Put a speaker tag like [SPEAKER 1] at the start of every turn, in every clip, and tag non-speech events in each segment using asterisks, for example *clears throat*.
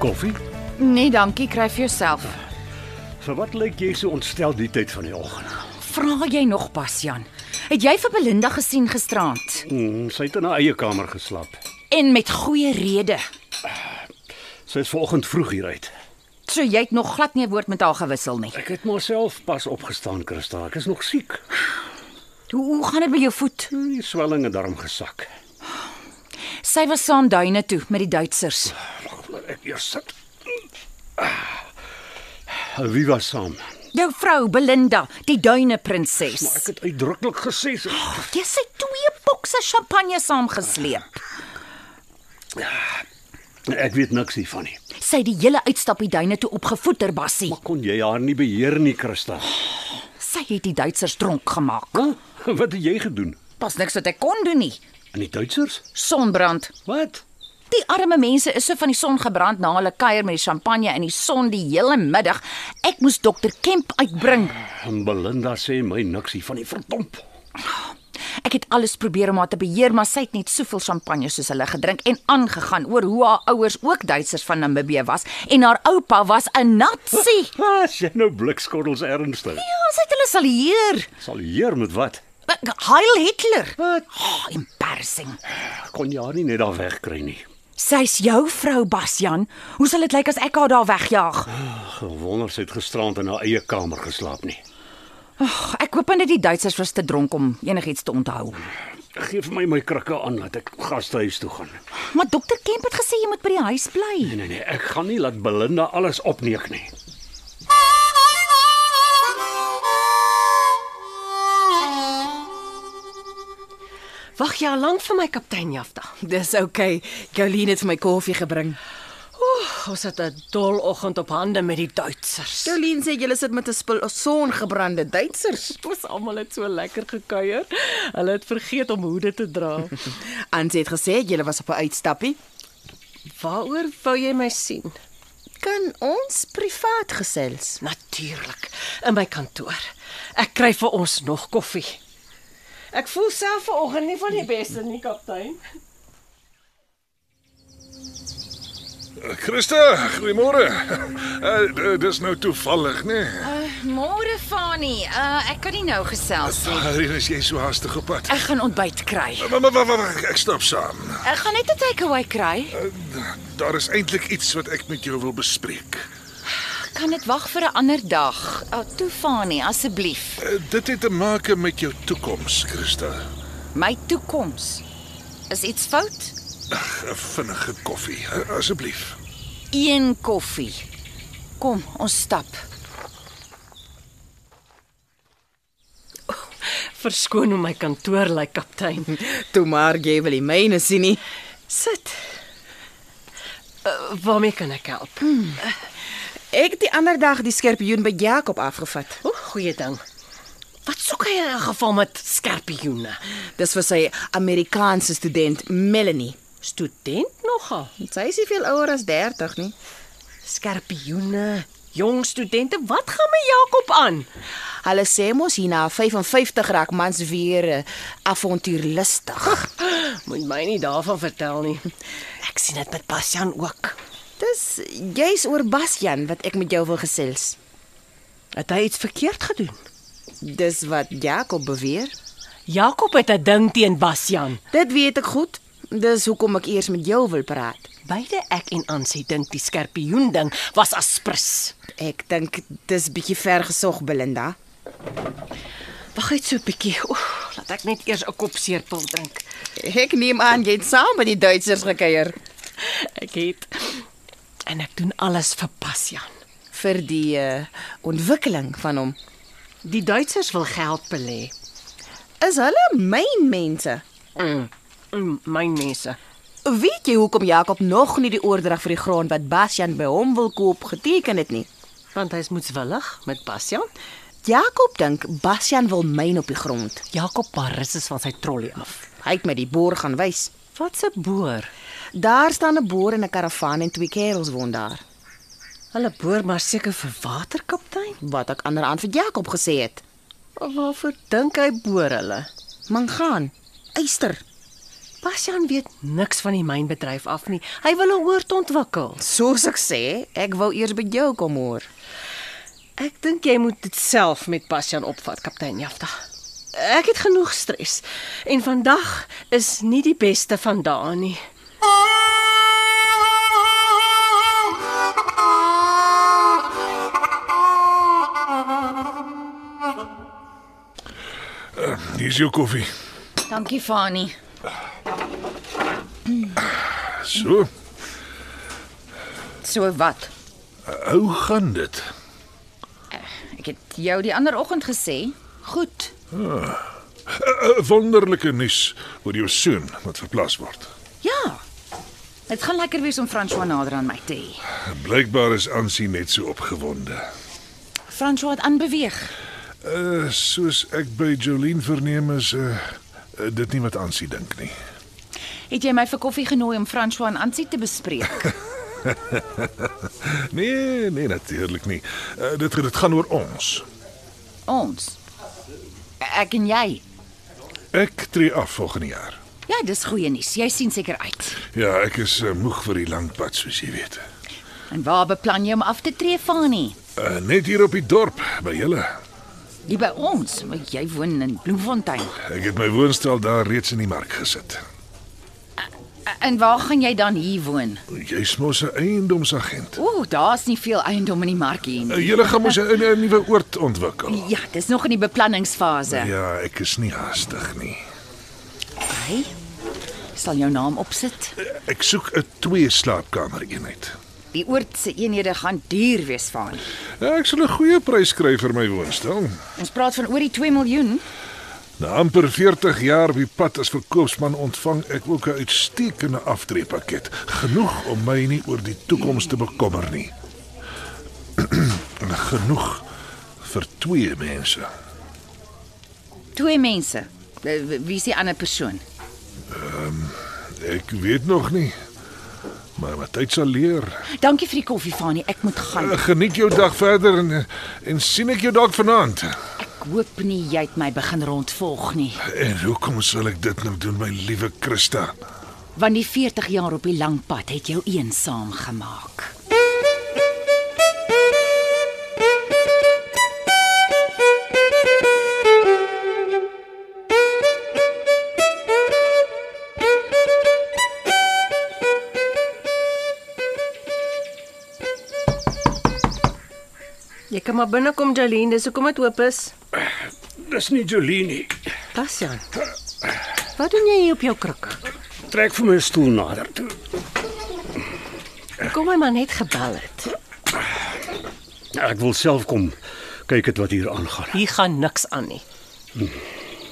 [SPEAKER 1] Koffie?
[SPEAKER 2] Nee, dankie, kry vir jouself.
[SPEAKER 1] Vir wat lyk jy so ontstel die tyd van die oggend?
[SPEAKER 2] Vra jy nog pas, Jan? Het jy vir Belinda gesien gisteraand?
[SPEAKER 1] Mm, sy het in haar eie kamer geslaap.
[SPEAKER 2] En met goeie rede.
[SPEAKER 1] Sy is vanoggend vroeg hier uit.
[SPEAKER 2] So jy het nog glad nie 'n woord met haar gewissel nie.
[SPEAKER 1] Ek het myself pas opgestaan, Christa. Ek is nog siek.
[SPEAKER 2] Hoe, hoe gaan dit by jou voet?
[SPEAKER 1] Die swelling het darm gesak.
[SPEAKER 2] Sy was saam duine toe met die Duitsers.
[SPEAKER 1] Wag, laat ek eers sit. Ah. Wie was saam?
[SPEAKER 2] Jou vrou Belinda, die duine
[SPEAKER 1] Maar
[SPEAKER 2] prinses.
[SPEAKER 1] ek het uitdruklik gesê sy
[SPEAKER 2] Jy sy twee bokse champagne saamgesleep.
[SPEAKER 1] Ek weet niks hiervan nie.
[SPEAKER 2] Sy het die hele uitstappie duine toe opgevoeter bassie.
[SPEAKER 1] Maar kon jy haar nie beheer nie, Christa?
[SPEAKER 2] Sy het die Duitsers dronk gemaak.
[SPEAKER 1] Huh? Wat het jy gedoen?
[SPEAKER 2] Pas niks wat ek kon doen nie.
[SPEAKER 1] En die Duitsers?
[SPEAKER 2] Sonbrand.
[SPEAKER 1] Wat?
[SPEAKER 2] Die arme mense is so van die son gebrand na hulle kuier met die champagne in die son die hele middag. Ek moes dokter Kemp uitbring.
[SPEAKER 1] En Belinda sê my niks hiervan nie, verdomp.
[SPEAKER 2] Ek het alles probeer om haar te beheer, maar sy het net soveel champagne soos hulle gedrink en aangegaan oor hoe haar ouers ook Duitsers van Namibië was en haar oupa was 'n Nazi.
[SPEAKER 1] Ah, as jy nou blikskotels ernstig.
[SPEAKER 2] Ja, sy het hulle salieer.
[SPEAKER 1] Sal hier met wat?
[SPEAKER 2] Heil Hitler.
[SPEAKER 1] Wat?
[SPEAKER 2] Oh, embarrassing.
[SPEAKER 1] Kon jy haar nie net daar wegkry nie.
[SPEAKER 2] Sy's jou vrou, Basjan. Hoe sal dit lyk as ek haar daar wegjaag?
[SPEAKER 1] Gewonder sy het gisterand in haar eie kamer geslaap nie.
[SPEAKER 2] Ag, Ek hoop net die Duitsers was te dronk om enigiets te onthou.
[SPEAKER 1] Geef my my krikke aan dat ek gastehuis toe gaan.
[SPEAKER 2] Maar dokter Kemp het gesê jy moet by die huis bly.
[SPEAKER 1] Nee nee nee, ek gaan nie laat Belinda alles opneek nie.
[SPEAKER 3] Wag jy al lank vir my kaptein Jafta.
[SPEAKER 4] Dis oukei. Okay. Jolene het vir my koffie gebring.
[SPEAKER 3] Ons het 'n dologgend op hande met die Duitsers.
[SPEAKER 4] Jolene sê julle sit met 'n spul songebrande Duitsers.
[SPEAKER 3] Ons almal het so lekker gekuier. Hulle het vergeet om hoede te dra.
[SPEAKER 4] Ansie het gesê julle was op 'n uitstappie.
[SPEAKER 3] *laughs* Waaroor wou jy my sien?
[SPEAKER 4] Kan ons privaat gesels?
[SPEAKER 3] Natuurlik, in my kantoor. Ek kry vir ons nog koffie. Ek voel self vanoggend nie van die beste nie, kaptein.
[SPEAKER 5] Christa, goeiemôre. *laughs* Uh, dis nou toevallig, né? Nee?
[SPEAKER 2] Eh, Môre Fani, uh, ek kan nie nou gesels nie.
[SPEAKER 5] Ah, Hier is jy so haastig op pad.
[SPEAKER 2] Ek gaan ontbyt kry.
[SPEAKER 5] Maar maar maar ek stap saam.
[SPEAKER 2] Ek gaan net 'n takeaway kry.
[SPEAKER 5] Daar is eintlik iets wat ek met jou wil bespreek.
[SPEAKER 2] Kan dit wag vir 'n ander dag? Uh, toe Fani, asseblief.
[SPEAKER 5] Uh, dit het te maak met jou toekoms, Christa.
[SPEAKER 2] My toekoms. Is iets fout?
[SPEAKER 5] 'n Vinnige koffie, eh, asseblief.
[SPEAKER 2] Een koffie. Kom, ons stap.
[SPEAKER 3] Verskoon hoe my kantoor lyk, kaptein.
[SPEAKER 4] *laughs* Toe maar jy wil die myne sien nie.
[SPEAKER 3] Sit. Uh, waarmee kan ek help?
[SPEAKER 4] Hmm. Ek het die ander dag die skerpioen by Jakob afgevat.
[SPEAKER 3] O, goeie ding. Wat soek hy in 'n geval met skerpioene?
[SPEAKER 4] Dis vir sy Amerikaanse student Melanie.
[SPEAKER 3] Student nogal.
[SPEAKER 4] Sy is nie veel ouer as 30 nie.
[SPEAKER 3] Skerpioene, jong studente, wat gaan my Jakob aan? *gasps*
[SPEAKER 4] Hulle sê mos hier na 55 raak mans weer eh, avontuurlustig.
[SPEAKER 3] Moet my nie daarvan vertel nie. Ek sien dit met Bastian ook.
[SPEAKER 4] Dis jy's oor Basjan wat ek met jou wil gesels.
[SPEAKER 3] Het hy iets verkeerd gedoen?
[SPEAKER 4] Dis wat Jakob beweer.
[SPEAKER 3] Jakob het 'n ding teen Bastian.
[SPEAKER 4] Dit weet ek goed. Dis hoekom ek eers met jou wil praat.
[SPEAKER 3] Beide ek en Ansie dink die skerpioen ding was aspres.
[SPEAKER 4] Ek dink dis bietjie ver gesog, Belinda.
[SPEAKER 3] Wag net so 'n bietjie. Oef, laat ek net eers 'n kop seerpil drink.
[SPEAKER 4] Ek neem aan jy het saam met die Duitsers gekuier.
[SPEAKER 3] Ek het en ek doen alles vir Bastian.
[SPEAKER 4] vir die uh, ontwikkeling van hom.
[SPEAKER 3] Die Duitsers wil geld belê.
[SPEAKER 4] Is hulle myn mense?
[SPEAKER 3] Mm. Mm, my mense.
[SPEAKER 4] Weet jy hoekom Jakob nog nie die oordrag vir die grond wat Bastian by hom wil koop geteken het nie?
[SPEAKER 3] Want hy's moetswillig met Bastian.
[SPEAKER 4] Jakob dink Bastian wil myn op die grond.
[SPEAKER 3] Jakob Paris is van sy trollie af.
[SPEAKER 4] Hy het my die boor gaan wys.
[SPEAKER 3] Wat 'n boer.
[SPEAKER 4] Daar staan 'n boor en 'n karavaan en twee kerels woon daar.
[SPEAKER 3] Hulle boer maar seker vir water, kaptein.
[SPEAKER 4] Wat ek ander aan vir Jakob gesê het.
[SPEAKER 3] Maar waarvoor dink hy boer hulle?
[SPEAKER 4] Mangaan, yster.
[SPEAKER 3] Bastian weet niks van die mynbedryf af nie. Hy wil 'n oord ontwikkel.
[SPEAKER 4] Soos ek sê, ek wou eers by jou kom hoor.
[SPEAKER 3] Ek dink jy moet dit self met Bastian opvat, kaptein Jafta. Ek het genoeg stres en vandag is nie die beste van dae nie.
[SPEAKER 5] Hier is jou koffie.
[SPEAKER 2] Dankie Fani.
[SPEAKER 5] So,
[SPEAKER 2] So wat?
[SPEAKER 5] hoe gaan dit?
[SPEAKER 2] Ek het jou die ander oggend gesê. Goed.
[SPEAKER 5] 'n Wonderlike nuus Eh, oor jou seun wat verplas word.
[SPEAKER 2] Ja. Dit gaan lekker wees om François nader aan my te hê.
[SPEAKER 5] Blykbaar is Ansie net so opgewonde.
[SPEAKER 2] François het aanbeweeg.
[SPEAKER 5] Uh, soos ek by Jolien verneem is uh, uh, dit nie wat Ansie dink nie.
[SPEAKER 2] Het jy my vir koffie genooi om François en Ansie te bespreek?
[SPEAKER 5] Nee, nee natuurlik nie. Uh, dit dit gaan oor ons.
[SPEAKER 2] Ons. Ek en jy.
[SPEAKER 5] Ek tree af volgende jaar.
[SPEAKER 2] Ja, dis goeie nuus. Jy sien seker uit.
[SPEAKER 5] Ja, ek is uh, moeg vir die lang pad soos jy weet.
[SPEAKER 2] En waar beplan jy om af te tree, Fani?
[SPEAKER 5] Uh, net hier op die dorp by julle.
[SPEAKER 2] Nie by ons, maar jy woon in Bloemfontein.
[SPEAKER 5] Ek het my woonstel daar reeds in die mark gesit.
[SPEAKER 2] En waar gaan jy dan hier woon?
[SPEAKER 5] Jy's mos 'n eiendomsagent.
[SPEAKER 2] Ooh, daar's nie veel eiendom in die mark hier
[SPEAKER 5] Uh,
[SPEAKER 2] nie.
[SPEAKER 5] Julle gaan mos 'n 'n nuwe oord ontwikkel.
[SPEAKER 2] Ja, dis nog in die beplanningsfase.
[SPEAKER 5] Ja, ek is nie haastig nie.
[SPEAKER 2] Hy sal jou naam opsit.
[SPEAKER 5] Ek soek 'n twee slaapkamer eenheid.
[SPEAKER 2] Die oord se eenhede gaan duur wees, Fani.
[SPEAKER 5] Ja, ek sal 'n goeie prys kry vir my woonstel.
[SPEAKER 2] Ons praat van oor die 2 miljoen.
[SPEAKER 5] Na amper 40 jaar op die pad as verkoopsman ontvang ek ook 'n uitstekende aftreepakket, genoeg om my nie oor die toekoms te bekommer nie. *clears throat* genoeg vir twee mense.
[SPEAKER 2] Twee mense. Eh, Wie is die ander persoon?
[SPEAKER 5] Ek weet nog nie, maar wat tyd sal leer.
[SPEAKER 2] Dankie vir die koffie, Fani. Ek moet gaan.
[SPEAKER 5] Eh, Geniet jou dag verder en en sien ek jou dalk vanaand.
[SPEAKER 2] Ek hoop nie jy het my begin rondvolg nie,
[SPEAKER 5] En hoekom sal ek dit nou doen, my liewe Christa?
[SPEAKER 2] want die 40 jaar op die lang pad het jou eensaam gemaak.
[SPEAKER 3] Jy kan maar binnekom, Jolien, dis hoekom dit oop is.
[SPEAKER 1] Dis nie Jolien nie.
[SPEAKER 3] Bastian. Wat doen jy hier op jou kruk?
[SPEAKER 1] Trek vir my 'n stoel nader toe.
[SPEAKER 3] Kom my maar net gebel het.
[SPEAKER 1] Ek wil self kom kyk het wat hier aangaan.
[SPEAKER 3] Hier gaan niks aan nie.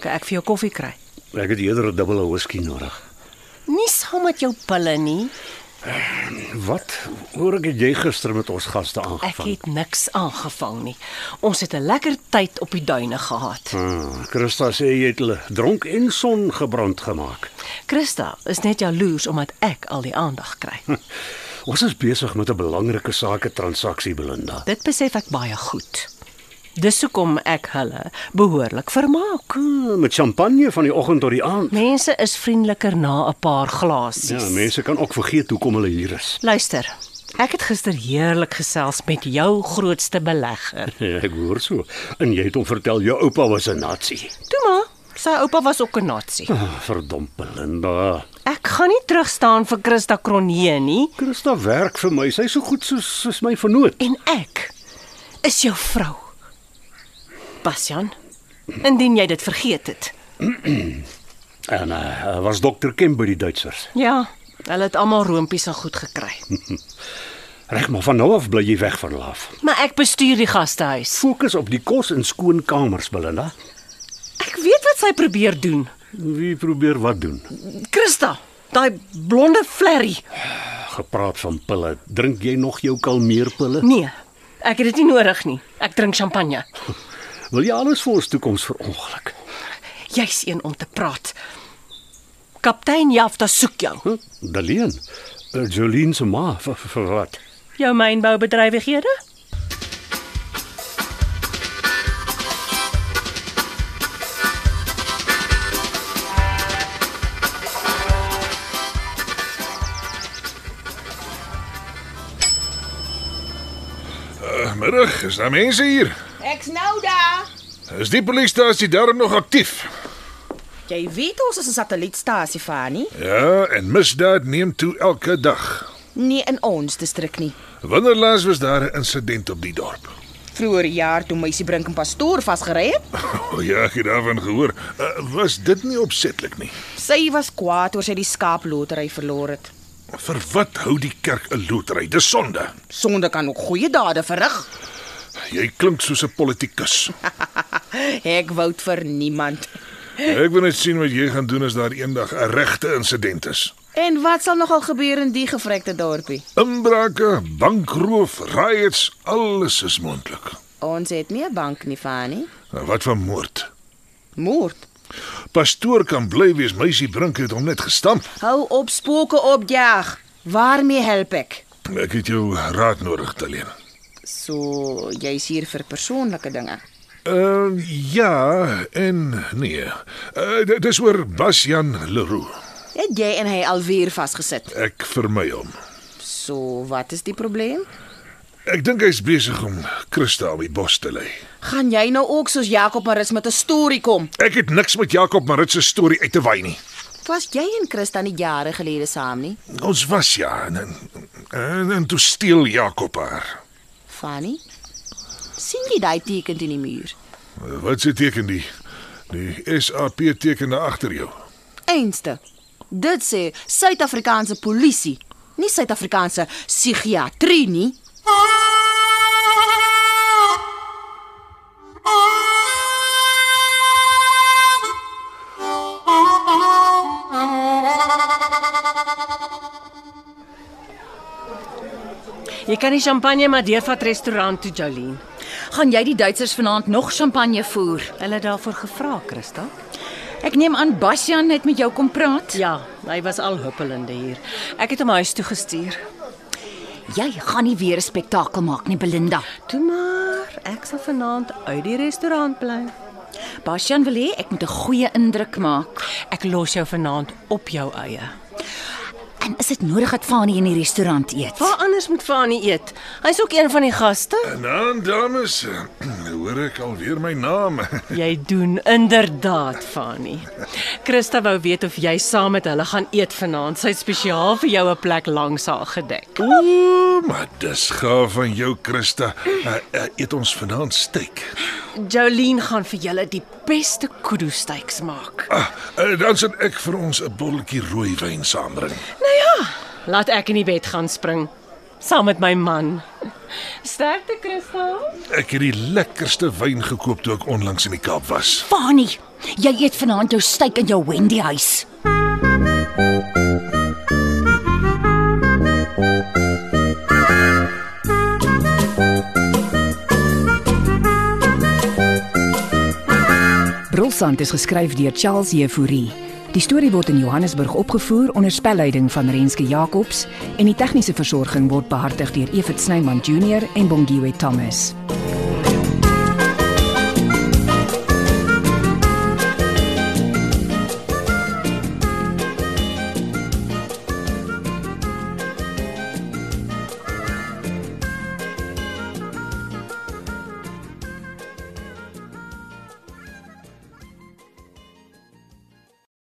[SPEAKER 3] Kan ek vir jou koffie kry?
[SPEAKER 1] Ek het eerder 'n dubbele whisky nodig.
[SPEAKER 3] Nie saam met jou pille nie.
[SPEAKER 1] Wat? Hoor ek het jy gister met ons gaste aangevang?
[SPEAKER 3] Ek het niks aangevang nie. Ons het 'n lekker tyd op die duine gehad.
[SPEAKER 1] Ah, Christa sê jy het hulle dronk en son gebrand gemaak.
[SPEAKER 3] Christa is net jaloers omdat ek al die aandag kry.
[SPEAKER 1] Hm. Ons is besig met 'n belangrike sake transaksie, Belinda.
[SPEAKER 3] Dit besef ek baie goed. Dis hoekom ek hulle behoorlik vermaak.
[SPEAKER 1] Hmm, Met champagne van die oggend tot die aand.
[SPEAKER 3] Mense is vriendeliker na 'n paar glasies.
[SPEAKER 1] Ja, mense kan ook vergeet hoekom hulle hier is.
[SPEAKER 3] Luister. Ek het gister heerlik gesels met jou grootste belegger.
[SPEAKER 1] Ja, ek hoor so. En jy het hom vertel jou oupa was 'n nazi.
[SPEAKER 3] Toe maar, sy oupa was ook 'n nasie.
[SPEAKER 1] Ah, verdomp Belinda.
[SPEAKER 3] Ek gaan nie terug staan vir Christa Kronje nie
[SPEAKER 1] Christa werk vir my. Sy's so goed soos soos my vernoot.
[SPEAKER 3] en ek is jou vrou. Bastian, indien jy dit vergeet het.
[SPEAKER 1] En uh, was dokter Kemp by die Duitsers.
[SPEAKER 3] Ja, hulle het almal roompies en goed gekry.
[SPEAKER 1] Reg maar van nou af bly jy weg van Laaf.
[SPEAKER 3] Maar ek bestuur die gastehuis.
[SPEAKER 1] Fokus op die kos en skoon kamers, Belinda.
[SPEAKER 3] Ek weet wat sy probeer doen.
[SPEAKER 1] Wie probeer wat doen?
[SPEAKER 3] Christa, daai blonde flerry.
[SPEAKER 1] Gepraat van pille. Drink jy nog jou kalmeerpille?
[SPEAKER 3] Nee, ek het dit nie nodig nie. Ek drink champagne.
[SPEAKER 1] Wil jy alles vir ons toekoms verongeluk?
[SPEAKER 3] Jy's een om te praat. Kaptein Jafta soek jou.
[SPEAKER 1] Huh? Daleen. eh, Jolien se ma vir, vir- vir wat?
[SPEAKER 3] Jou mynboubedrywighede?
[SPEAKER 5] Uh, middag, is daar mense hier?
[SPEAKER 4] Ek's nou daar.
[SPEAKER 5] Is die polisiestasie daar nog aktief?
[SPEAKER 4] Jy weet ons is 'n satellietstasie van nie.
[SPEAKER 5] Ja, en misdaad neem toe elke dag.
[SPEAKER 4] Nie in ons distrik nie.
[SPEAKER 5] Wanneer laas was daar 'n insident op die dorp? *laughs*
[SPEAKER 4] Vroeger jaar toe meisie Brink en pastoor vasgery het,
[SPEAKER 5] O oh, ja, ek het daarvan gehoor. Uh, was dit nie opsetlik nie?
[SPEAKER 4] sy was kwaad oor sy die skaaplotery verloor het.
[SPEAKER 5] Vir wat hou die kerk 'n lotery? Dis sonde.
[SPEAKER 4] Sonde kan ook goeie dade verrig. *laughs*
[SPEAKER 5] Jy klink soos 'n politikus.
[SPEAKER 4] Ek wou vir niemand.
[SPEAKER 5] Ek wil net sien wat jy gaan doen as daar eendag 'n regte insident is.
[SPEAKER 4] En wat sal nogal gebeur in die gevrekte dorpie?
[SPEAKER 5] Inbrake, bankroof, riots, alles is moontlik.
[SPEAKER 4] Ons het nie 'n bank nie, Fani.
[SPEAKER 5] Nou, Wat van moord?
[SPEAKER 4] Moord.
[SPEAKER 5] Pastoor kan bly wees, meisie Brink het hom net gestamp.
[SPEAKER 4] Hou op spooke opjag. Waarmee help ek?
[SPEAKER 5] Ek het jou raad nodig, Talena.
[SPEAKER 4] So jy's hier vir persoonlike dinge.
[SPEAKER 5] Ehm uh, ja en nee. Uh, dit is oor Basjan Leroux.
[SPEAKER 4] Het jy en hy alweer vasgesit.
[SPEAKER 5] Ek vermy hom.
[SPEAKER 4] So wat is die probleem?
[SPEAKER 5] Ek dink hy's besig om Christa op die bos te lei.
[SPEAKER 4] Gaan jy nou ook soos Jakob Marus met 'n storie kom?
[SPEAKER 5] Ek het niks met Jakob Marit se storie uit te wy nie.
[SPEAKER 4] Was jy en Christa nie jare gelede saam nie?
[SPEAKER 5] Ons was ja en en, en, en toe steel Jakob haar.
[SPEAKER 4] Fanny? sien jy daai teken teen die muur?
[SPEAKER 5] Uh, Wat se teken die? Die SAP teken daar agter jou.
[SPEAKER 4] Einste. Dit sê Suid-Afrikaanse polisie, nie Suid-Afrikaanse psigiatrie nie.
[SPEAKER 3] Jy kan die champagne maar deurvat restaurant toe, Jolene.
[SPEAKER 2] Gaan jy die Duitsers vanaand nog champagne voer?
[SPEAKER 3] Hulle het daarvoor gevra, Christa.
[SPEAKER 2] Ek neem aan Bastian het met jou kom praat.
[SPEAKER 3] Ja, hy was al huppelende hier. Ek het hom huis toe gestuur.
[SPEAKER 2] Jy gaan nie weer 'n spektakel maak nie, Belinda.
[SPEAKER 3] Toe maar, ek sal vanaand uit die restaurant bly.
[SPEAKER 2] Bastian wil hê ek moet 'n goeie indruk maak.
[SPEAKER 3] Ek los jou vanaand op jou eie.
[SPEAKER 2] En is dit nodig dat Fanie in die restaurant eet?
[SPEAKER 3] Waar anders moet Fanie eet? Hy's ook een van die gaste.
[SPEAKER 5] En dan dames, *clears throat* hoor ek alweer my naam.
[SPEAKER 3] Jy doen inderdaad, Fanie. Christa wou weet of jy saam met hulle gaan eet vanaand. Sy het spesiaal vir jou 'n plek langs haar gedek.
[SPEAKER 5] Ooh, maar dis gaaf van jou, Christa. Uh, uh, eet ons vanaand steak.
[SPEAKER 3] Jolene gaan vir julle die beste kudu steaks maak.
[SPEAKER 5] Ah, uh, dan sal ek vir ons 'n botteltjie rooi wyn saambring.
[SPEAKER 3] Laat ek in die bed gaan spring saam met my man. Sterkte, Christa.
[SPEAKER 5] Ek het die lekkerste wyn gekoop toe ek onlangs in die Kaap was.
[SPEAKER 2] Fanie, jy eet vanaand jou steak in jou Wendy huis.
[SPEAKER 6] Brolsand is geskryf deur Charles Jefouri. Die storie word in Johannesburg opgevoer onder spelleiding van Renske Jacobs en die tegniese versorging word behartig deur Evit Snyman Junior en Bongwe Thomas.